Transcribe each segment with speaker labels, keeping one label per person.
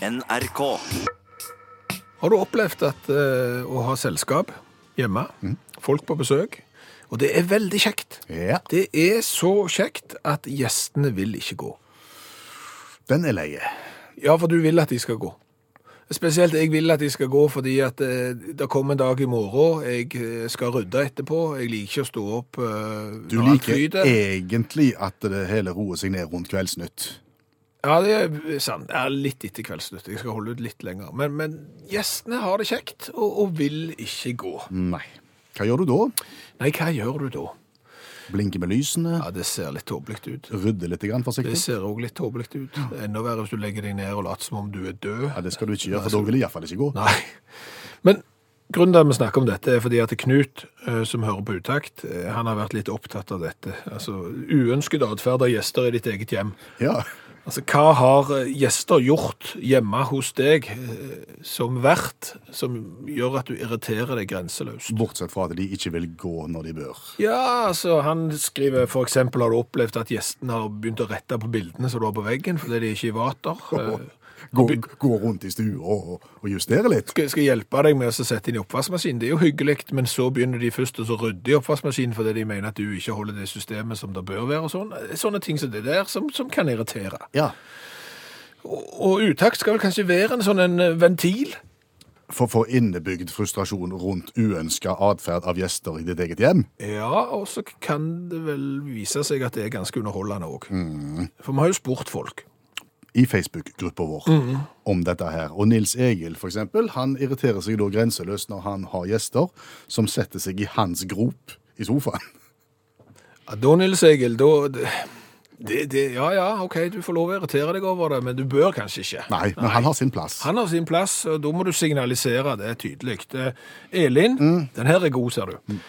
Speaker 1: NRK.
Speaker 2: Har du opplevd at, eh, å ha selskap hjemme, folk på besøk, og det er veldig kjekt.
Speaker 3: Mm. Ja,
Speaker 2: Det er så kjekt at gjestene vil ikke gå.
Speaker 3: den er leie.
Speaker 2: Ja, for du vil at de skal gå. Spesielt jeg vil at de skal gå fordi at eh, det kommer en dag i morgen, jeg eh, skal rydde etterpå, jeg liker ikke å stå opp eh,
Speaker 3: Du
Speaker 2: når alt
Speaker 3: liker e-
Speaker 2: flyter.
Speaker 3: egentlig at det hele roer seg ned rundt Kveldsnytt.
Speaker 2: Ja, det er sant. Det er litt etter kveldsnytt, jeg skal holde ut litt lenger. Men, men gjestene har det kjekt og, og vil ikke gå.
Speaker 3: Nei. Hva gjør du da?
Speaker 2: Nei, hva gjør du da?
Speaker 3: Blinker med lysene,
Speaker 2: Ja, det ser litt tåpelig ut.
Speaker 3: rydder litt grann
Speaker 2: Det
Speaker 3: forsiktig.
Speaker 2: ser òg litt tåpelig ut. Enda verre hvis du legger deg ned og later som om du er død.
Speaker 3: Ja, Det skal du ikke gjøre, for da vil det iallfall ikke gå.
Speaker 2: Nei. Men grunnen til at vi snakker om dette, er fordi at Knut, eh, som hører på utakt, eh, han har vært litt opptatt av dette. Altså uønsket atferd av gjester i ditt eget hjem.
Speaker 3: Ja,
Speaker 2: Altså, hva har eh, gjester gjort hjemme hos deg eh, som vert, som gjør at du irriterer deg grenseløst?
Speaker 3: Bortsett fra at de ikke vil gå når de bør.
Speaker 2: Ja, altså, han skriver for eksempel har du opplevd at gjestene har begynt å rette på bildene som du har på veggen, fordi de ikke er i vater. Eh,
Speaker 3: Gå, gå rundt i stua og, og justere litt.
Speaker 2: skal, skal hjelpe deg med å sette inn i oppvaskmaskinen. Det er jo hyggelig, men så begynner de først å så rydde i oppvaskmaskinen fordi de mener at du ikke holder det systemet som det bør være og sånn. Sånne ting som det der som, som kan irritere.
Speaker 3: Ja,
Speaker 2: Og, og utakt skal vel kanskje være en sånn en eh, ventil?
Speaker 3: For å få innebygd frustrasjon rundt uønska atferd av gjester i ditt eget hjem.
Speaker 2: Ja, og så kan det vel vise seg at det er ganske underholdende òg. For vi har jo spurt folk.
Speaker 3: i Facebook-gruppa vår
Speaker 2: Mhm.
Speaker 3: om dette her. Og Nils Egil, for eksempel, han irriterer seg da grenseløst når han har gjester som setter seg i hans grop i sofaen.
Speaker 2: Ja, da, Nils Egil, da det, det, Ja ja, OK, du får lov å irritere deg over det, men du bør kanskje ikke.
Speaker 3: Nei, men han har sin plass.
Speaker 2: Han har sin plass, og da må du signalisere det tydelig. Det- Elin, den her er god, ser du.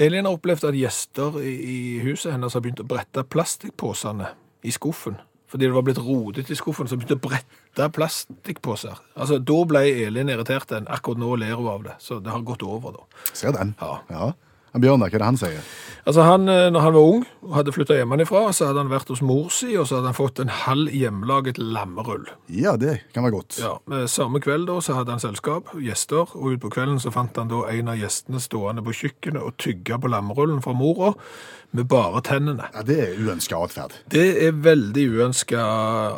Speaker 2: Elin har opplevd at gjester i, i huset hennes har begynt å brette plastikkpåsene i skuffen. Fordi det var blitt rodet i skuffen, så begynte å brette plastikkpåser. Altså, Da ble Elin irritert. enn Akkurat nå ler hun av det, så det har gått over, da.
Speaker 3: Ser den.
Speaker 2: Ja.
Speaker 3: Han Bjørnar, hva er det han sier?
Speaker 2: Altså han, eh, Når han var ung og hadde flytta hjemmefra, så hadde han vært hos mor si, og så hadde han fått en halv hjemmelaget lammerull.
Speaker 3: Ja, det kan være godt.
Speaker 2: Ja, eh, Samme kveld da, så hadde han selskap, gjester, og utpå kvelden så fant han da en av gjestene stående på kjøkkenet og tygge på lammerullen fra mora med bare tennene.
Speaker 3: Ja, det er uønska atferd.
Speaker 2: Det er veldig uønska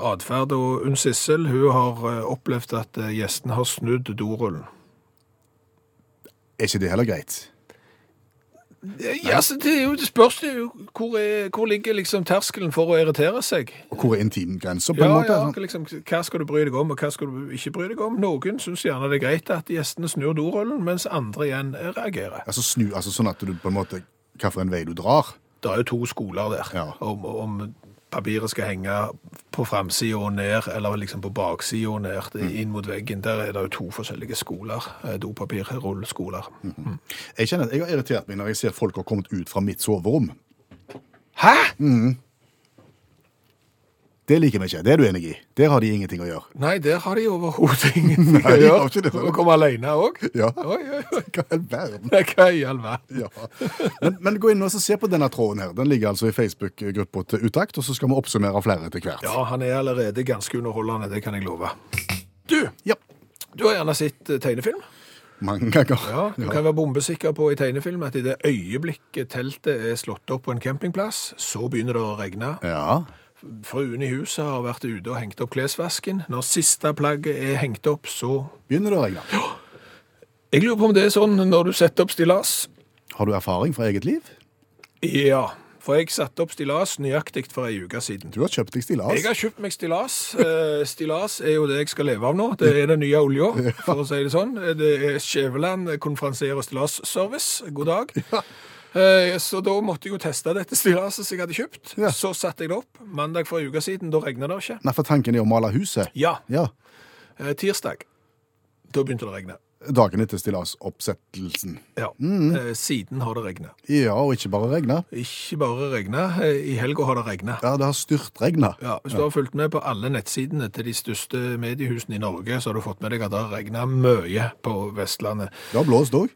Speaker 2: atferd, og Unn Sissel hun har eh, opplevd at eh, gjestene har snudd dorullen.
Speaker 3: Er ikke det heller greit?
Speaker 2: Ja, så Det er jo, det spørs det jo hvor, er, hvor ligger liksom terskelen for å irritere seg.
Speaker 3: Og hvor er intimgrensa, på en
Speaker 2: Ja,
Speaker 3: måte?
Speaker 2: ja,
Speaker 3: Sånn.
Speaker 2: liksom, Hva skal du bry deg om, og hva skal du ikke bry deg om? Noen syns gjerne det er greit at gjestene snur dorullen, mens andre igjen reagerer.
Speaker 3: Altså, snu, altså sånn at du på en måte Hvilken vei du drar?
Speaker 2: Det er jo to skoler der,
Speaker 3: Ja.
Speaker 2: om, om papiret skal henge på fremsiden og ned, eller liksom på baksiden og ned,
Speaker 3: Mm.
Speaker 2: det, inn mot veggen. Der er det jo to forskjellige skoler, eh, dopapirrullskoler.
Speaker 3: Mm. Jeg kjenner at jeg har irritert meg når jeg ser folk har kommet ut fra mitt soverom.
Speaker 2: Hæ?!
Speaker 3: Det liker vi ikke. Det er du enig i. Der har de ingenting å gjøre.
Speaker 2: Nei, der har de overhodet ingenting å
Speaker 3: Nei, de har ikke
Speaker 2: gjøre.
Speaker 3: det.
Speaker 2: Og komme alene også?
Speaker 3: Ja.
Speaker 2: Oi, oi, oi.
Speaker 3: Hva i all verden?
Speaker 2: Nei, Hva i all verden?
Speaker 3: Ja. Men, men gå inn og så se på denne tråden her. Den ligger altså i Facebook-gruppa til Utakt, og så skal vi oppsummere flere etter hvert.
Speaker 2: Ja, han er allerede ganske underholdende, det kan jeg love. Du,
Speaker 3: Ja.
Speaker 2: du har gjerne sett eh, tegnefilm.
Speaker 3: Mange ganger.
Speaker 2: Ja, du kan være bombesikker på i tegnefilm at i det øyeblikket teltet er slått opp på en campingplass, så begynner det å regne.
Speaker 3: Ja.
Speaker 2: Fruen i huset har vært ute og hengt opp klesvasken. Når siste plagget er hengt opp, så
Speaker 3: Begynner det å regne?
Speaker 2: Jeg lurer på om det er sånn når du setter opp stillas.
Speaker 3: Har du erfaring fra eget liv?
Speaker 2: Ja, for jeg satte opp stillas nøyaktig for ei uke siden.
Speaker 3: Du har kjøpt deg stillas.
Speaker 2: Jeg har kjøpt meg stillas. Eh, Stillas er jo det jeg skal leve av nå. Det er den nye olja, for å si det sånn. Det er Skjæveland konferansier- og stillasservice. God dag. Eh, Så da måtte jeg jo teste dette stillaset som jeg hadde kjøpt.
Speaker 3: Ja.
Speaker 2: Så satte jeg det opp mandag for en uke siden. Da regna det ikke.
Speaker 3: Nei, for tanken er å male huset.
Speaker 2: Ja,
Speaker 3: Ja.
Speaker 2: eh, tirsdag. Da begynte det å regne.
Speaker 3: Dagen etter stillasoppsettelsen.
Speaker 2: Ja. Eh, Siden har det regna.
Speaker 3: Ja, og ikke bare regne.
Speaker 2: Ikke bare regna, eh, i helga har det regna.
Speaker 3: Ja, det har styrtregna.
Speaker 2: Ja, Hvis du har fulgt med på alle nettsidene til de største mediehusene i Norge, så har du fått med deg at det har regna mye på Vestlandet.
Speaker 3: Det har blåst òg.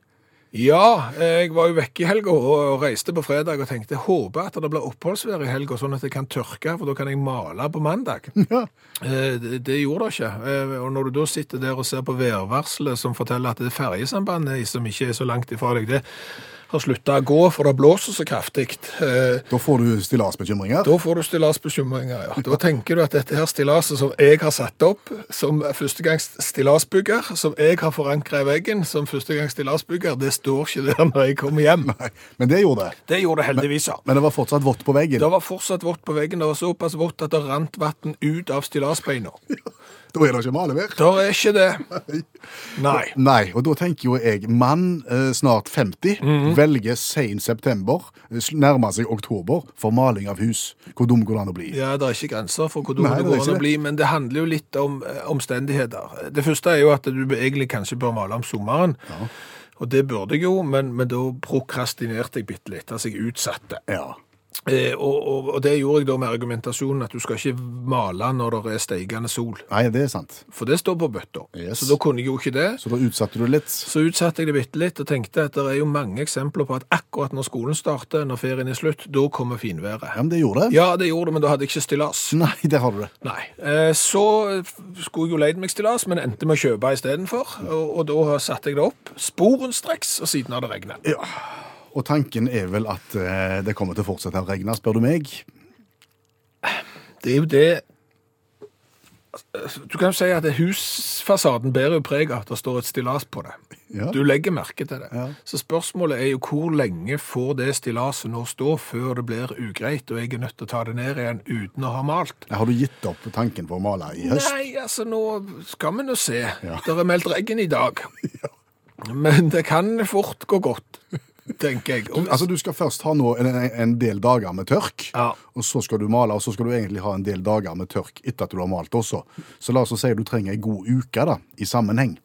Speaker 2: Ja, eh, jeg var jo vekke i helga og reiste på fredag og tenkte håper at det blir oppholdsvær i helga, sånn at jeg kan tørke, for da kan jeg male på mandag.
Speaker 3: Ja.
Speaker 2: Eh, Det det gjorde det ikke. Eh, Og når du da sitter der og ser på værvarselet som forteller at det er ferjesambandet som ikke er så langt ifra deg, det har slutta å gå, for det blåser så kraftig. Eh,
Speaker 3: Da får du stillasbekymringer.
Speaker 2: Da får du stillasbekymringer, ja. Da tenker du at dette her stillaset som jeg har satt opp som førstegangs stillasbygger, som jeg har forankra i veggen som førstegangs stillasbygger, det står ikke der når jeg kommer hjem.
Speaker 3: Nei, Men det gjorde det.
Speaker 2: Det gjorde det heldigvis, ja.
Speaker 3: Men det var fortsatt vått på veggen.
Speaker 2: Det var fortsatt vått på veggen. Det var såpass vått at det rant vann ut av stillasbeina.
Speaker 3: Da er det ikke male mer.
Speaker 2: Der er ikke det. Nei.
Speaker 3: Nei, og da tenker jo jeg mann, eh, snart 50,
Speaker 2: Mhm.
Speaker 3: velger sen september, eh, sl- nærmer seg oktober, for maling av hus. Hvor dum går det an å bli?
Speaker 2: Ja, det er ikke grenser for hvor
Speaker 3: Nei,
Speaker 2: dumme
Speaker 3: det
Speaker 2: det
Speaker 3: er
Speaker 2: går
Speaker 3: ikke
Speaker 2: an å
Speaker 3: det.
Speaker 2: bli, men det handler jo litt om eh, omstendigheter. Det første er jo at du egentlig kanskje bør male om sommeren, og det burde jeg jo, men, men da prokrastinerte jeg bitte litt, altså jeg utsatte.
Speaker 3: Ja.
Speaker 2: Eh, og, og, og det gjorde jeg da med argumentasjonen at du skal ikke male når det er steigende sol,
Speaker 3: Nei, det er sant.
Speaker 2: for det står på bøtter.
Speaker 3: Yes.
Speaker 2: Så da kunne jeg jo ikke det.
Speaker 3: Så da utsatte du litt.
Speaker 2: Så utsatte jeg det bitte litt og tenkte at det er jo mange eksempler på at akkurat når skolen starter, når ferien er slutt, da kommer
Speaker 3: Ja,
Speaker 2: finværet.
Speaker 3: men det gjorde det.
Speaker 2: Ja, det gjorde det, men da hadde jeg ikke stillas.
Speaker 3: Nei, der har du det.
Speaker 2: Nei. Eh, Så skulle jeg jo leid meg stillas, men endte med å kjøpe istedenfor. Og, og da satte jeg det opp sporenstreks, og siden har det regnet.
Speaker 3: Og tanken er vel at eh, det kommer til å fortsette å regne, spør du meg.
Speaker 2: Det er jo det eh, Du kan jo si at husfasaden bærer jo preg av at det står et stillas på det.
Speaker 3: Ja.
Speaker 2: Du legger merke til det.
Speaker 3: Ja.
Speaker 2: Så spørsmålet er jo hvor lenge får det stillaset nå stå før det blir ugreit, og jeg er nødt til å ta det ned igjen uten å ha malt?
Speaker 3: Har du gitt opp tanken på å male i høst?
Speaker 2: Nei, altså nå skal vi nå se.
Speaker 3: Ja.
Speaker 2: Det er meldt regn i dag. Men det kan fort gå godt, tenker jeg. Og-
Speaker 3: Altså, Du skal først ha nå en, en del dager med tørk,
Speaker 2: Ja.
Speaker 3: og så skal du male, og så skal du egentlig ha en del dager med tørk etter at du har malt også. Så la oss si du trenger ei god uke da, i sammenheng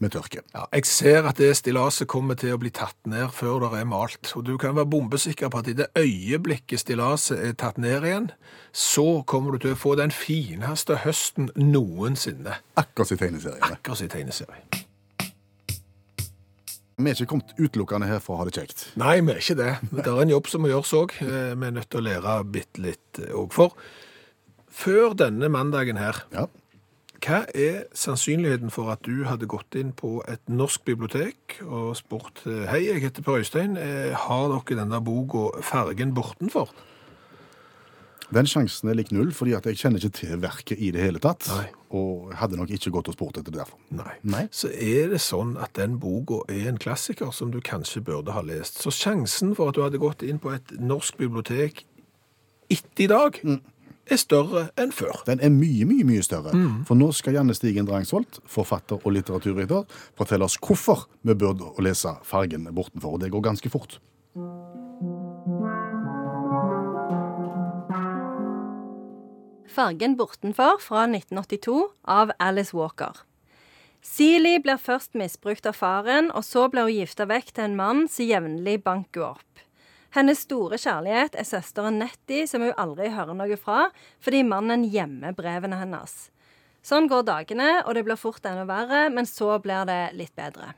Speaker 3: med tørke.
Speaker 2: ja, jeg ser at det stillaset kommer til å bli tatt ned før det er malt. Og du kan være bombesikker på at i det øyeblikket stillaset er tatt ned igjen, så kommer du til å få den fineste høsten noensinne.
Speaker 3: Akkurat i tegneseriene.
Speaker 2: Akkurat som i tegneserien.
Speaker 3: Vi er ikke kommet utelukkende her for å ha det kjekt.
Speaker 2: Nei, vi er ikke det. Det er en jobb som må gjøres òg. Eh, Vi er nødt til å lære bitte litt òg. For før denne mandagen her,
Speaker 3: Ja.
Speaker 2: hva er sannsynligheten for at du hadde gått inn på et norsk bibliotek og spurt eh, Hei, jeg heter Per Øystein. Eh, Har dere den der boka 'Fargen bortenfor'?
Speaker 3: Den sjansen er lik null, fordi at jeg kjenner ikke til verket i det hele tatt.
Speaker 2: Nei.
Speaker 3: Og hadde nok ikke gått og spurt etter det derfor.
Speaker 2: Nei.
Speaker 3: Nei.
Speaker 2: Så er det sånn at den boka er en klassiker som du kanskje burde ha lest. Så sjansen for at du hadde gått inn på et norsk bibliotek etter i dag, er større enn før.
Speaker 3: Den er mye, mye mye større. For nå skal Janne Stigen Drangsvold, forfatter og litteraturrytter, fortelle oss hvorfor vi burde å lese Fargen bortenfor. Og det går ganske fort.
Speaker 1: Fargen bortenfor fra 1982 av Alice Walker. Seeley blir først misbrukt av faren, og så blir hun gifta vekk til en mann som jevnlig banker henne opp. Hennes store kjærlighet er søsteren Nettie, som hun aldri hører noe fra, fordi mannen gjemmer brevene hennes. Sånn går dagene, og det blir fort enda verre, men så blir det litt bedre.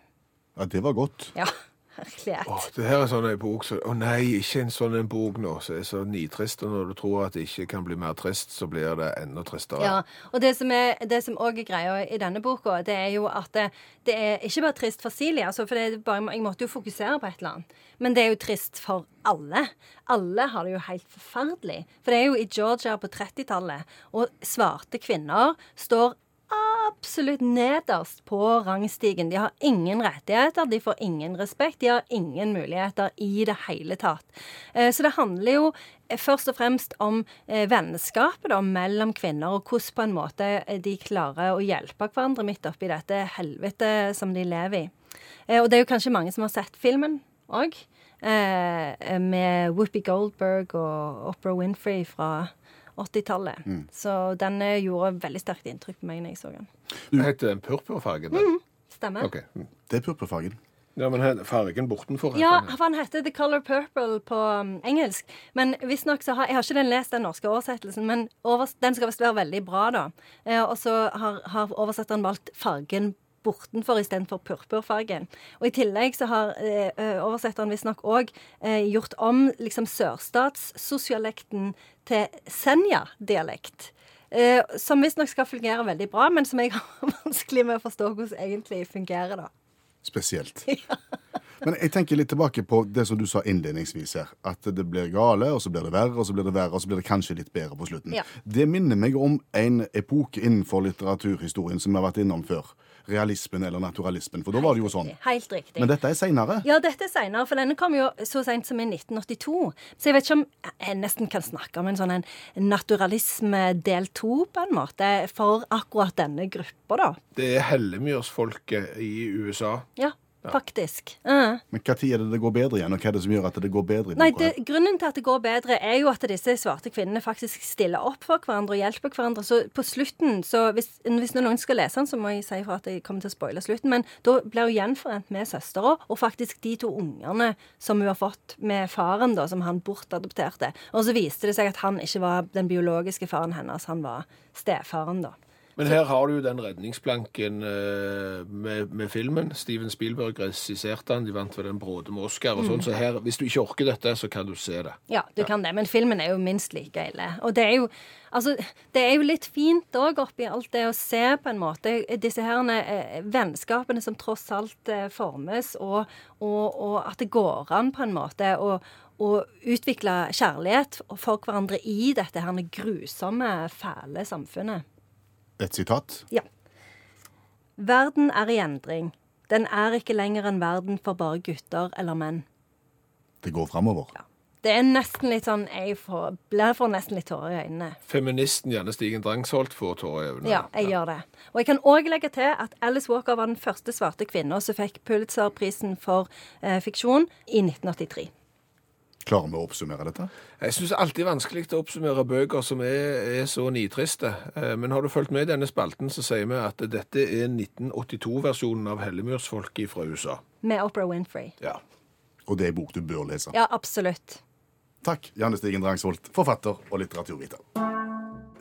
Speaker 3: Ja, Det var godt.
Speaker 1: Ja, herlighet.
Speaker 2: Åh, det her er sånn en bok som Å nei, ikke en sånn en bok nå, som er så nitrist. Og når du tror at det ikke kan bli mer trist, så blir det enda tristere.
Speaker 1: Ja, og det som, er, det som også er greia i denne boka, det er jo at det, det er ikke bare trist for Silje, altså, for det er bare, jeg måtte jo fokusere på et eller annet, men det er jo trist for alle. Alle har det jo helt forferdelig. For det er jo i Georgia på 30-tallet, og svarte kvinner står absolutt nederst på rangstigen. De har ingen rettigheter, de får ingen respekt, de har ingen muligheter i det hele tatt. Eh, Så det handler jo eh, først og fremst om eh, vennskapet da, mellom kvinner, og hvordan på en måte eh, de klarer å hjelpe hverandre midt oppi dette helvetet som de lever i. Eh, Og det er jo kanskje mange som har sett filmen òg, med Whoopi Goldberg og Opera Winfrey fra 80-tallet. Så den eh, gjorde veldig sterkt inntrykk på meg når jeg så den.
Speaker 2: Det heter den purpurfargen. den.
Speaker 1: Stemmer.
Speaker 2: Ok. Mm.
Speaker 3: Det er purpurfargen.
Speaker 2: Ja, men her- fargen bortenfor heter
Speaker 1: Ja,
Speaker 2: den.
Speaker 1: for han heter The Color Purple på um, engelsk. Men visstnok så har Jeg har ikke den lest den norske oversettelsen, men overs den skal visst være veldig bra, da. Eh, og så har, har oversetteren valgt fargen bortenfor istedenfor purpurfargen. Og i tillegg så har eh, eh, oversetteren visstnok òg eh, gjort om liksom sørstatssosialekten til Senja-dialekt. Eh, som visstnok skal fungere veldig bra, men som jeg har vanskelig med å forstå hvordan egentlig fungerer, da.
Speaker 3: Spesielt. Men jeg tenker litt tilbake på det som du sa innledningsvis her. At det blir gale, og så blir det verre, og så blir det verre, og så blir det kanskje litt bedre på slutten.
Speaker 1: Ja.
Speaker 3: Det minner meg om en epoke innenfor litteraturhistorien som vi har vært innom før. Realismen eller naturalismen. For da var det jo sånn.
Speaker 1: Helt riktig.
Speaker 3: Men dette er seinere.
Speaker 1: Ja, dette er seinere, for denne kom jo så seint som i 1982. Så jeg vet ikke om jeg nesten kan snakke om en sånn en naturalisme del to, på en måte, for akkurat denne gruppa, da.
Speaker 2: Det er hellemyrsfolket i USA.
Speaker 1: Ja, faktisk. Ja.
Speaker 3: Men når er det det går bedre igjen, og hva er det som gjør at det går bedre? i
Speaker 1: Nei,
Speaker 3: boka
Speaker 1: det,
Speaker 3: her?
Speaker 1: Grunnen til at det går bedre, er jo at disse svarte kvinnene faktisk stiller opp for hverandre og hjelper hverandre. Så på slutten, så hvis, hvis noen skal lese den, så må jeg si ifra at jeg kommer til å spoile slutten, men da blir hun gjenforent med søstera og faktisk de to ungene som hun har fått med faren, da, som han bortadopterte. Og så viste det seg at han ikke var den biologiske faren hennes, han var stefaren, da.
Speaker 2: Men her har du jo den redningsplanken eh, med, med filmen. Steven Spielberg regisserte den, de vant vel en bråde med Oscar og
Speaker 1: Mm.
Speaker 2: sånn. Så her, hvis du ikke orker dette, så kan du se det.
Speaker 1: Ja, du kan det, men filmen er jo minst like ille. Og det er jo, altså, det er jo litt fint òg oppi alt det å se på en måte disse her eh, vennskapene som tross alt eh, formes, og, og, og at det går an på en måte å, å utvikle kjærlighet for hverandre i dette her grusomme, fæle samfunnet.
Speaker 3: Et sitat.
Speaker 1: Ja. Verden er i endring. Den er ikke lenger en verden for bare gutter eller menn.
Speaker 3: Det går framover.
Speaker 1: Det er nesten litt sånn Jeg får, blir- får nesten litt tårer i øynene.
Speaker 2: Feministen Janne Stigen Drangsholt får tårer i øynene.
Speaker 1: Ja, jeg gjør det. Og jeg kan òg legge til at Alice Walker var den første svarte kvinna som fikk Pulitzer-prisen for eh, fiksjon i 1983.
Speaker 3: Klarer vi å oppsummere dette?
Speaker 2: Jeg syns alltid vanskelig å oppsummere bøker som er, er så nitriste. Eh, Men har du fulgt med i denne spalten, så sier vi at dette er 1982-versjonen av Hellemyrsfolket fra USA.
Speaker 1: Med Opera Winfrey.
Speaker 2: Ja.
Speaker 3: Og det er en bok du bør lese.
Speaker 1: Ja, absolutt.
Speaker 3: Takk, Janne Stigen Drangsholt, forfatter og litteraturviter.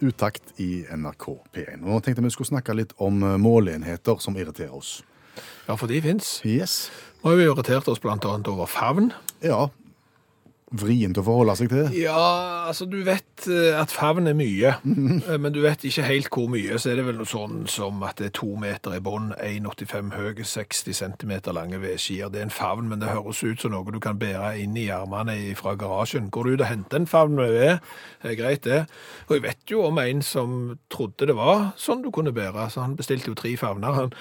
Speaker 3: Utakt i NRK P1. Og Nå tenkte vi skulle snakke litt om eh, måleenheter som irriterer oss.
Speaker 2: ja, for de fins.
Speaker 3: Yes.
Speaker 2: Vi har jo irritert oss bl.a. over favn.
Speaker 3: Ja. Vrient å forholde seg til.
Speaker 2: Ja, altså du vet eh, at favn er mye, eh, men du vet ikke helt hvor mye. Så er det vel noe sånn som at det er to meter i bånd, 1,85 høye, 60 cm lange vedskier. Det er en favn, men det høres ut som noe du kan bære inn i armene fra garasjen. Går du ut og henter en favn med ved, det er greit det. Og jeg vet jo om en som trodde det var sånn du kunne bære, så han bestilte jo tre favner. han.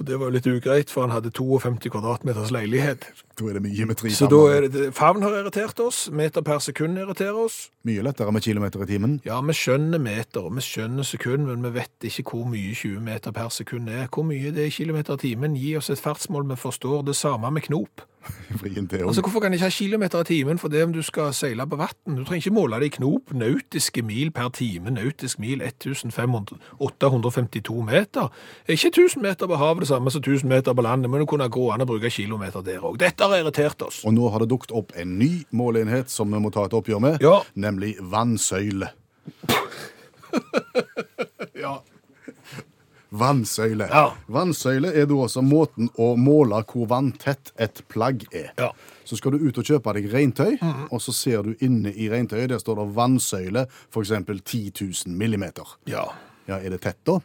Speaker 2: Og det var jo litt ugreit, for han hadde 52 kvadratmeters leilighet.
Speaker 3: Da er det mye med tre
Speaker 2: Så da
Speaker 3: favner.
Speaker 2: er det, Favn har irritert oss, meter per sekund irriterer oss.
Speaker 3: Mye lettere med kilometer i timen.
Speaker 2: Ja, vi skjønner meter, og vi skjønner sekund, men vi vet ikke hvor mye 20 meter per sekund er. Hvor mye det er i kilometer i timen. Gi oss et fartsmål vi forstår. Det samme med knop.
Speaker 3: Vrient det
Speaker 2: Altså,
Speaker 3: òg.
Speaker 2: Hvorfor kan jeg ikke ha kilometer i timen for det om du skal seile på vann? Du trenger ikke måle det i knop. Nautiske mil per time. Nautisk mil 1852 meter. Er ikke 1000 meter på havet det samme som 1000 meter på landet, men det kunne gå an å bruke kilometer der òg. Dette har irritert oss.
Speaker 3: Og nå har det dukket opp en ny måleenhet som vi må ta et oppgjør med,
Speaker 2: Ja.
Speaker 3: nemlig vannsøyle.
Speaker 2: Ja,
Speaker 3: Vannsøyle.
Speaker 2: Ja.
Speaker 3: Vannsøyle er da også måten å måle hvor vanntett et plagg er.
Speaker 2: Ja. Mhm.
Speaker 3: Så skal du ut og kjøpe deg regntøy, og så ser du inne i regntøyet, der står det vannsøyle, f.eks. 10 000 millimeter.
Speaker 2: Ja.
Speaker 3: Ja, er det tett da?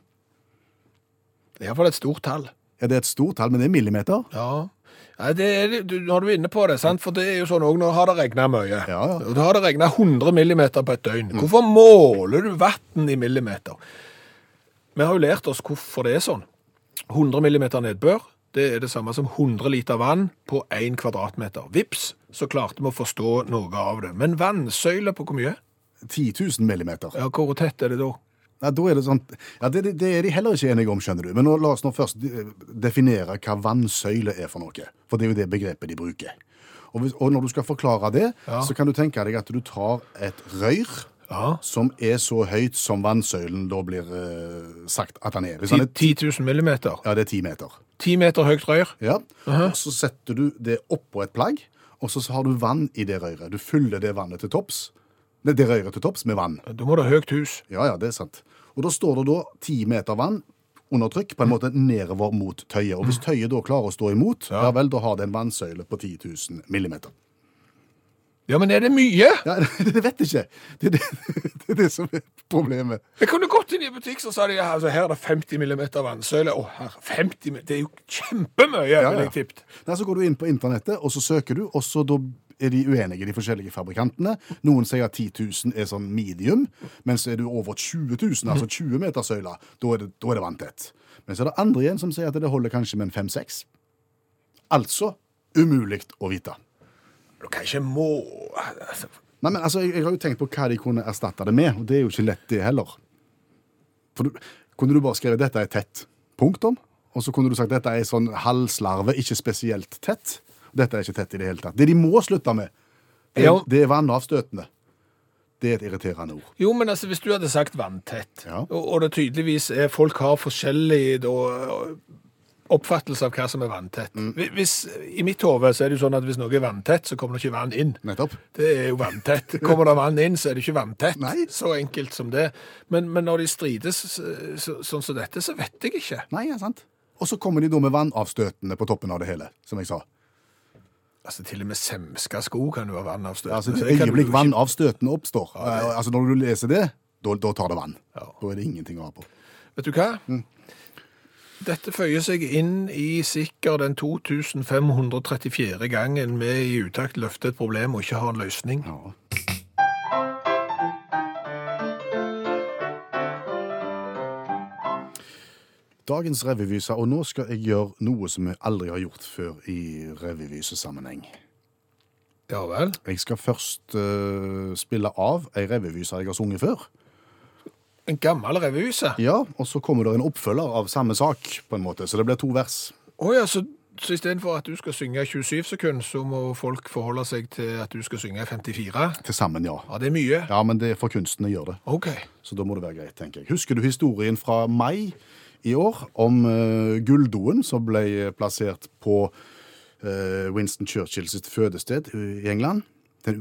Speaker 2: Det er iallfall et stort tall.
Speaker 3: Er det et stort tall, men det er millimeter?
Speaker 2: Ja. Nei, det er, du, når du er inne på det, sant? for det er jo sånn òg nå har det regna mye.
Speaker 3: Ja, ja.
Speaker 2: Og Da har det regna 100 millimeter på et døgn. Hvorfor måler du vann i millimeter? Vi har jo lært oss hvorfor det er sånn. 100 millimeter nedbør, det er det samme som 100 liter vann på 1 kvadratmeter. Vips, så klarte vi å forstå noe av det. Men vannsøyle på hvor mye?
Speaker 3: 10 000 millimeter.
Speaker 2: Ja, hvor tett er det da?
Speaker 3: Ja, da er det sånn Ja, det, det er de heller ikke enige om, skjønner du. Men nå, la oss nå først de- definere hva vannsøyle er for noe. For det er jo det begrepet de bruker. Og, hvis, og når du skal forklare det,
Speaker 2: Ja.
Speaker 3: så kan du tenke deg at du tar et røyr
Speaker 2: Ja.
Speaker 3: som er så høyt som vannsøylen da blir eh, sagt at han er. Hvis
Speaker 2: 10
Speaker 3: han er ti,
Speaker 2: 000 millimeter.
Speaker 3: ja, det er ti meter.
Speaker 2: 10 meter høyt rør.
Speaker 3: Ja. Og så setter du det oppå et plagg, og så har du vann i det røret. Du fyller det vannet til topps. Nei, det røret til topps med vann.
Speaker 2: Da må du ha høyt hus.
Speaker 3: Ja, ja, det er sant. Og da står det da ti meter vann under trykk, på en måte nedover mot tøyet. Og hvis tøyet da klarer å stå imot, ja, vel, da har det en vannsøyle på 10 000 millimeter.
Speaker 2: Ja, men er det mye?
Speaker 3: Ja, det vet jeg ikke. Det er det, det, er det som er problemet.
Speaker 2: Jeg kunne gått inn i en butikk, så sa de ja, altså, her er det 50 millimeter vannsøyle. Å, her, 50 mm, Det er jo kjempemye,
Speaker 3: ja.
Speaker 2: ville jeg tippet.
Speaker 3: Nei, så går du inn på internettet, og så søker du, og så da er de uenige, de forskjellige fabrikantene. Noen sier at 10 000 er sånn medium, mens er du over 20 000, altså 20 meter søyla, da er det, da er det vanntett. Men så er det andre igjen som sier at det holder kanskje med en 5-6. Altså umulig å vite.
Speaker 2: Du kan ikke må altså,
Speaker 3: Nei, men altså, jeg, jeg har jo tenkt på hva de kunne erstatte det med, og det er jo ikke lett det heller. For du, kunne du bare skrevet 'dette er tett', punktum, og så kunne du sagt 'dette er sånn halvslarve, ikke spesielt tett'. Dette er ikke tett i det hele tatt. Det de må slutte med, det,
Speaker 2: Ja.
Speaker 3: det er vannavstøtende. Det er et irriterende ord.
Speaker 2: Jo, men altså, hvis du hadde sagt vanntett,
Speaker 3: Ja.
Speaker 2: og, og det tydeligvis er folk har forskjellig da, oppfattelse av hva som er vanntett.
Speaker 3: Mm.
Speaker 2: Hvi- Hvis, I mitt hode så er det jo sånn at hvis noe er vanntett, så kommer det ikke vann inn.
Speaker 3: Nettopp.
Speaker 2: Det er jo vanntett. Kommer det vann inn, så er det ikke vanntett.
Speaker 3: Nei.
Speaker 2: Så enkelt som det. Men, men når de strides så- så, sånn som dette, så vet jeg ikke.
Speaker 3: Nei, ja, sant. Og så kommer de da med vannavstøtende på toppen av det hele, som jeg sa.
Speaker 2: Altså, til og med semska sko kan jo ha vannavstøtende.
Speaker 3: Altså,
Speaker 2: Så
Speaker 3: et
Speaker 2: det kan du
Speaker 3: øyeblikk
Speaker 2: jo ikke-
Speaker 3: vannavstøtende oppstår. Eh, Altså, når du leser det, da, da tar det vann.
Speaker 2: Ja.
Speaker 3: Da er det ingenting å ha på.
Speaker 2: Vet du hva?
Speaker 3: Mm.
Speaker 2: Dette føyer seg inn i sikkert den 2534. gangen vi i utakt løfter et problem og ikke har en løsning.
Speaker 3: Ja. Dagens revyvise, og nå skal jeg gjøre noe som jeg aldri har gjort før i revyvisesammenheng.
Speaker 2: Ja vel?
Speaker 3: Jeg skal først eh, spille av ei revyvise jeg har sunget før.
Speaker 2: En gammel revyse. Å
Speaker 3: Ja, Og så kommer det en oppfølger av samme sak, på en måte, så det blir to vers.
Speaker 2: ja, så, så istedenfor at du skal synge 27 sekunder, så må folk forholde seg til at du skal synge 54?
Speaker 3: Til sammen, ja.
Speaker 2: Ja, det er mye.
Speaker 3: Ja, Men det er for kunsten jeg gjør det.
Speaker 2: OK.
Speaker 3: Så da må det være greit, tenker jeg. Husker du historien fra mai i år om eh, gulldoen som ble plassert på eh, Winston Churchill sitt fødested i England? En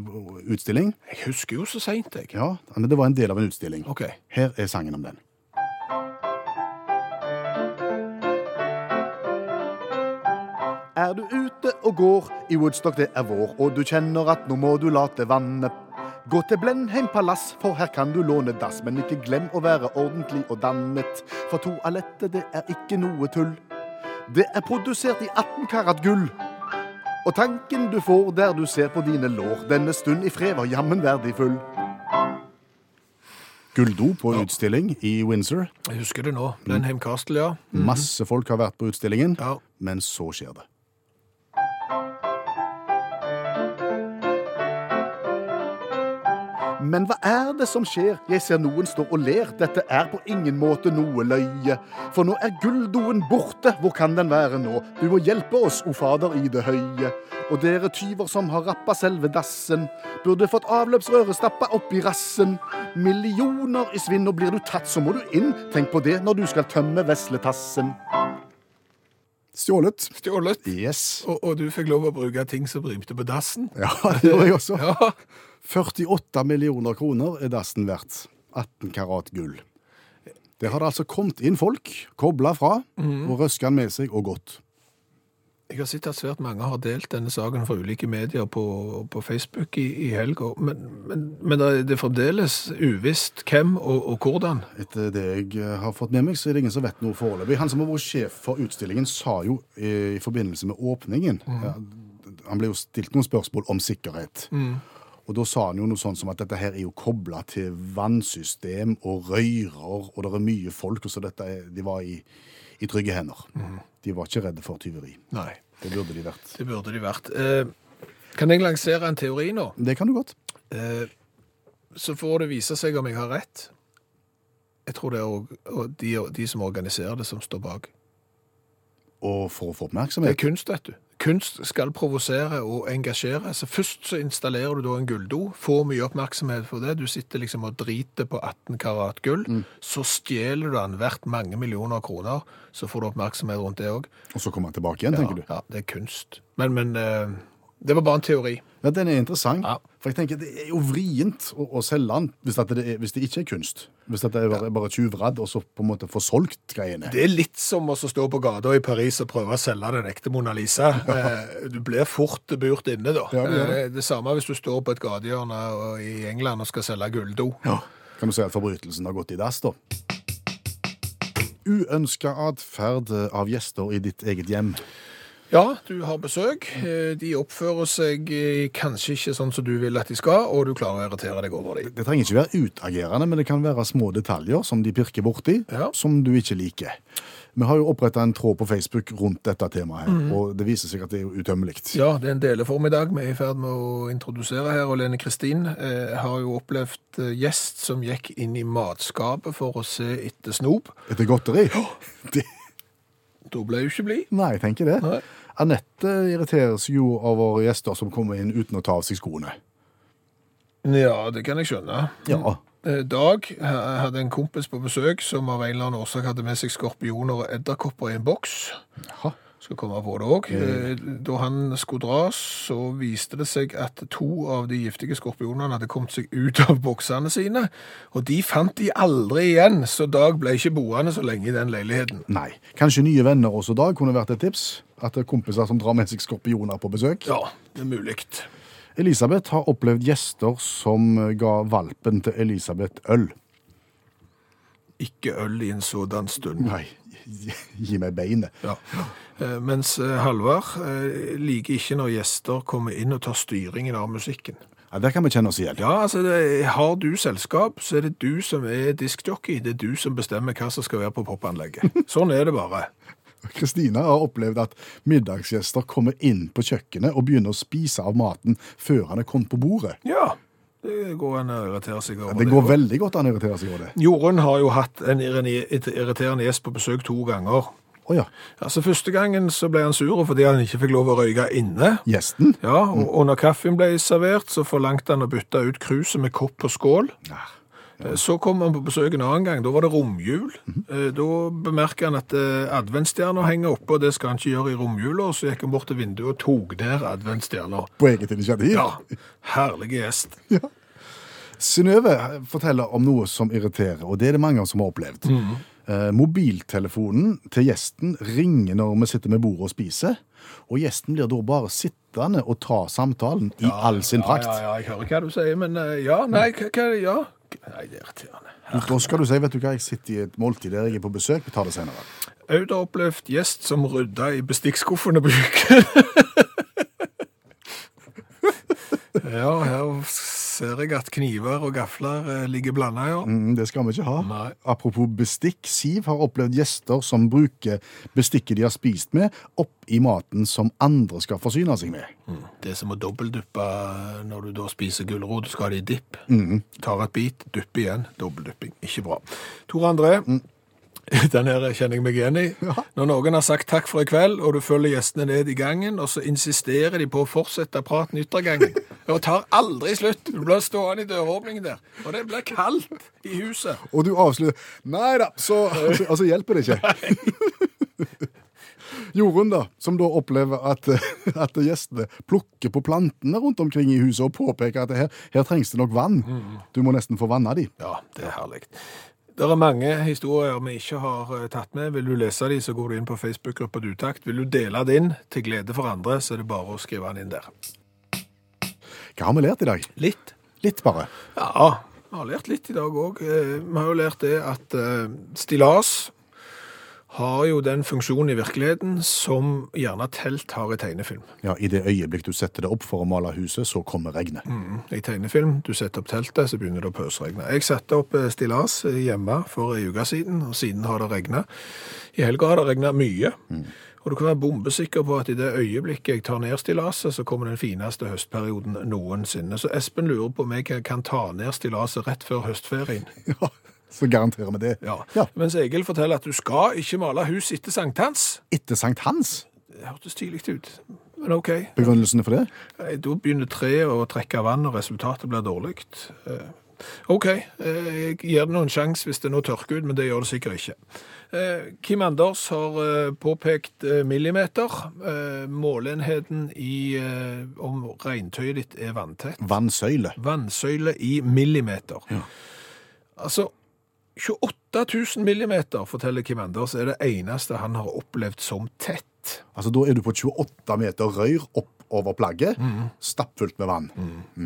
Speaker 3: utstilling?
Speaker 2: Jeg husker jo så seint, jeg.
Speaker 3: Ja, men det var en del av en utstilling.
Speaker 2: OK.
Speaker 3: Her er sangen om den. Er du ute og går i Woodstock, det er vår, og du kjenner at nå må du late vannet. Gå til Blenheim palass, for her kan du låne dass, men ikke glem å være ordentlig og dannet, for toalettet det er ikke noe tull. Det er produsert i 18 karat gull. Og tanken du får der du ser på dine lår, denne stund i fred var jammen verdifull. Gulldo på utstilling i Windsor.
Speaker 2: Jeg husker det nå. Blenheim Castle,
Speaker 3: Mm.
Speaker 2: ja.
Speaker 3: Masse folk har vært på utstillingen,
Speaker 2: Mhm. Ja.
Speaker 3: men så skjer det. Men hva er det som skjer? Jeg ser noen står og ler. Dette er på ingen måte noe løye. For nå er gulldoen borte. Hvor kan den være nå? Du må hjelpe oss, o Fader i det høye. Og dere tyver som har rappa selve dassen, burde fått avløpsrøret stappa opp i rassen. Millioner i svinn, og blir du tatt, så må du inn. Tenk på det når du skal tømme vesletassen. Stjålet.
Speaker 2: Stjålet.
Speaker 3: Yes.
Speaker 2: Og, og du fikk lov å bruke ting som rimte på dassen.
Speaker 3: Ja, det gjorde jeg også.
Speaker 2: Ja.
Speaker 3: 48 millioner kroner er dassen verdt. 18 karat gull. Der har det altså kommet inn folk, kobla fra, og røska den med seg og gått.
Speaker 2: Jeg har sett at svært mange har delt denne saken fra ulike medier på, på Facebook i, i helga, men, men, men det er- det er fremdeles uvisst hvem og, og hvordan.
Speaker 3: Etter det jeg eh, har fått med meg, så er det ingen som vet noe foreløpig. Han som har vært sjef for utstillingen, sa jo eh, i forbindelse med åpningen ja, Han ble jo stilt noen spørsmål om sikkerhet. Og da sa han jo noe sånn som at dette her er jo kobla til vannsystem og røyrer, og det er mye folk, og så dette er, de var i, i trygge hender. De var ikke redde for tyveri.
Speaker 2: Nei,
Speaker 3: Det burde de vært.
Speaker 2: det burde de vært. Eh, kan jeg lansere en teori nå?
Speaker 3: Det kan du godt.
Speaker 2: Eh, så får det vise seg om jeg har rett. Jeg tror det er og, og de, de som organiserer det, som står bak.
Speaker 3: Og for å få
Speaker 2: Det er
Speaker 3: oppmerksomhet
Speaker 2: kunst, vet du. Kunst skal provosere og engasjere. Så først så installerer du da en gulldo, får mye oppmerksomhet for det. Du sitter liksom og driter på 18 karat gull.
Speaker 3: Mm.
Speaker 2: Så stjeler du den verdt mange millioner kroner. Så får du oppmerksomhet rundt det òg.
Speaker 3: Og så kommer han tilbake igjen,
Speaker 2: Ja,
Speaker 3: tenker du.
Speaker 2: ja, det er kunst. Men, men eh, Det var bare en teori.
Speaker 3: Ja, den er interessant.
Speaker 2: Ja.
Speaker 3: For jeg tenker, det er jo vrient å, å selge den hvis, at det er, hvis det ikke er kunst. Hvis at det er bare, bare tjuvradd, og så på en måte få solgt greiene.
Speaker 2: Det er litt som å stå på gata i Paris og prøve å selge den ekte Mona Lisa. Eh, Du blir fort burt inne, da.
Speaker 3: Ja, det gjør det.
Speaker 2: Eh, det samme hvis du står på et gatehjørne og- i England og skal selge gulldo.
Speaker 3: Kan du si at forbrytelsen har gått i dass, da? Uønska atferd eh, av gjester i ditt eget hjem.
Speaker 2: Ja, du har besøk. Eh, De oppfører seg eh, kanskje ikke sånn som du vil at de skal, og du klarer å irritere deg over dem.
Speaker 3: Det trenger ikke være utagerende, men det kan være små detaljer som de pirker borti,
Speaker 2: Ja.
Speaker 3: som du ikke liker. Vi har jo oppretta en tråd på Facebook rundt dette temaet, her, og det viser seg at det er jo utømmelig.
Speaker 2: Mhm. Ja, det er en deleform i dag. Vi er i ferd med å introdusere her, og Lene Kristin eh, har jo opplevd eh, gjest som gikk inn i matskapet for å se etter snop.
Speaker 3: Etter godteri? Det,
Speaker 2: Da ble hun ikke blid.
Speaker 3: nei, jeg tenker det.
Speaker 2: Nei.
Speaker 3: Anette irriteres jo over gjester som kommer inn uten å ta av seg skoene.
Speaker 2: Ja, det kan jeg skjønne.
Speaker 3: Ja.
Speaker 2: Eh, Dag eh, hadde en kompis på besøk som av en eller annen årsak hadde med seg skorpioner og edderkopper i en boks.
Speaker 3: Jaha.
Speaker 2: Skal komme på det òg. Da han skulle dra, så viste det seg at to av de giftige skorpionene hadde kommet seg ut av boksene sine. Og de fant de aldri igjen, så Dag ble ikke boende så lenge i den leiligheten.
Speaker 3: Nei. Kanskje nye venner også da kunne vært et tips? At det er kompiser som drar med seg skorpioner på besøk?
Speaker 2: Ja, det er mulig.
Speaker 3: Elisabeth har opplevd gjester som ga valpen til Elisabeth øl.
Speaker 2: Ikke øl i en sådan stund.
Speaker 3: Nei, gi, gi meg beinet.
Speaker 2: Ja. Eh, Mens eh, Halvard eh, liker ikke når gjester kommer inn og tar styringen av musikken.
Speaker 3: Ja, der kan vi kjenne oss igjen.
Speaker 2: Ja, altså, det, har du selskap, så er det du som er diskjockey. Det er du som bestemmer hva som skal være på popanlegget. Sånn er det bare.
Speaker 3: Kristina har opplevd at middagsgjester kommer inn på kjøkkenet og begynner å spise av maten før han er kommet på bordet.
Speaker 2: Ja, det går an å irritere seg over
Speaker 3: Det går veldig godt han irriterer seg over det.
Speaker 2: Jorunn har jo hatt en irrene- et irriterende gjest på besøk to ganger.
Speaker 3: Å ja,
Speaker 2: Altså, Første gangen så ble han sur fordi han ikke fikk lov å røyke inne.
Speaker 3: gjesten?
Speaker 2: Ja, og, og når kaffen ble servert, så forlangte han å bytte ut kruset med kopp og skål. Eh, Så kom han på besøk en annen gang. Da var det romjul.
Speaker 3: Mhm.
Speaker 2: Eh, Da bemerket han at eh, adventsstjerna henger oppe, og det skal han ikke gjøre i romjula. Så gikk han bort til vinduet og tok ned adventsstjerna.
Speaker 3: På eget initiativ?
Speaker 2: Ja, herlig gjest.
Speaker 3: Synnøve eh, forteller om noe som irriterer, og det er det mange som har opplevd.
Speaker 2: Mhm.
Speaker 3: Eh, mobiltelefonen til gjesten ringer når vi sitter med bordet og spiser, og gjesten blir da bare sittende og ta samtalen i all sin prakt.
Speaker 2: Ja, ja, ja, jeg hører hva du sier, men eh, ja, nei, hva, hva ja. Nei, det er irriterende.
Speaker 3: Da skal du si, vet du hva, jeg sitter i et måltid der jeg er på besøk, vi tar det senere.
Speaker 2: Aud har opplevd gjest som rydda i bestikkskuffene på kjøkkenet. ja, her ser jeg at kniver og gafler eh, ligger blanda, ja.
Speaker 3: Mm, det skal vi ikke ha.
Speaker 2: Nei.
Speaker 3: Apropos bestikk, Siv har opplevd gjester som bruker bestikket de har spist med, opp i maten som andre skal forsyne seg med.
Speaker 2: Det er som å dobbeltduppe eh, når du da spiser gulrot, skal det i dipp. Tar et bit, duppe igjen. Dobbeltdupping. Ikke bra. Tor André, den her kjenner jeg meg igjen i. Når noen har sagt takk for i kveld, og du følger gjestene ned i gangen, og så insisterer de på å fortsette praten i yttergangen. Og tar aldri slutt. Du blir stående i døråpningen der, og det blir kaldt i huset.
Speaker 3: Og du avslutter Nei da, så altså, altså hjelper det ikke. Jorunn, da, som da opplever at, at gjestene plukker på plantene rundt omkring i huset og påpeker at her, her trengs det nok vann.
Speaker 2: Mm.
Speaker 3: Du må nesten få vanna de.
Speaker 2: Ja, det er herlig. Det er mange historier vi ikke har eh, tatt med. Vil du lese de, så går du inn på Facebook-gruppa Dutakt. Vil du dele din til glede for andre, så er det bare å skrive den inn der.
Speaker 3: Hva har vi lært i dag?
Speaker 2: Litt?
Speaker 3: Litt, bare.
Speaker 2: Ja, vi har lært litt i dag òg. Vi har jo lært det at eh, stillas har jo den funksjonen i virkeligheten som gjerne telt har i tegnefilm.
Speaker 3: Ja, I det øyeblikk du setter det opp for å male huset, så kommer regnet.
Speaker 2: I tegnefilm, du setter opp teltet, så begynner det å pøsregne. Jeg satte opp eh, stillas eh, hjemme for ei uke siden, og siden har det regnet. I helga har det regnet mye. Og du kan være bombesikker på at i det øyeblikket jeg tar ned stillaset, så kommer den fineste høstperioden noensinne. Så Espen lurer på om jeg kan- kan ta ned stillaset rett før høstferien.
Speaker 3: Ja, Så garanterer vi det.
Speaker 2: Ja.
Speaker 3: Ja.
Speaker 2: Mens Egil forteller at du skal ikke male hus etter sankthans.
Speaker 3: Etter Sankt Hans?
Speaker 2: Det hørtes tidlig ut, men OK.
Speaker 3: Begrunnelsene for det?
Speaker 2: Nei, Da begynner treet å trekke vann, og resultatet blir dårlig. Eh, OK, eh, jeg gir det nå en sjanse hvis det nå tørker ut, men det gjør det sikkert ikke. Eh, Kim Anders har eh, påpekt eh, millimeter. Eh, Måleenheten i eh, om regntøyet ditt er vanntett.
Speaker 3: Vannsøyle.
Speaker 2: Vannsøyle i millimeter. Altså 28 000 millimeter, forteller Kim Anders, er det eneste han har opplevd som tett.
Speaker 3: Altså, da er du på 28 meter rør opp over plagget, stappfullt med vann.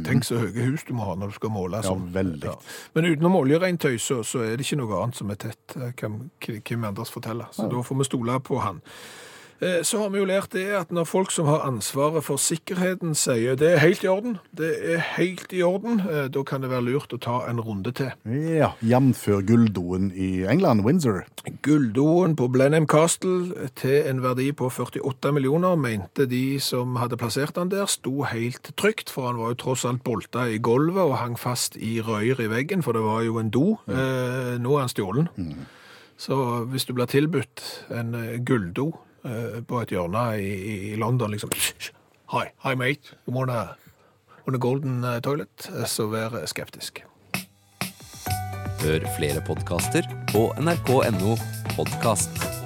Speaker 2: Tenk så høye hus du må ha når du skal måle
Speaker 3: Mm. Ja,
Speaker 2: sånn.
Speaker 3: veldig.
Speaker 2: Men utenom oljeregntøy så, så er det ikke noe annet som er tett, eh, kan K- Kim Anders fortelle. Så da får vi stole på han. Eh, Så har vi jo lært det at når folk som har ansvaret for sikkerheten sier det er helt i orden, det er helt i orden, eh, da kan det være lurt å ta en runde til.
Speaker 3: Ja, Jamfør gulldoen i England, Windsor.
Speaker 2: Gulldoen på Blenheim Castle til en verdi på 48 millioner, mente de som hadde plassert han der, sto helt trygt, for han var jo tross alt bolta i gulvet og hang fast i røyer i veggen, for det var jo en do. Eh, nå er han stjålen. Så hvis du blir tilbudt en eh, gulldo eh, på et hjørne i, i- i London, liksom Hi, hi mate, you wanna, wanna golden eh, toilet? Eh, Så vær skeptisk.
Speaker 4: Hør flere podkaster på nrk.no podkast.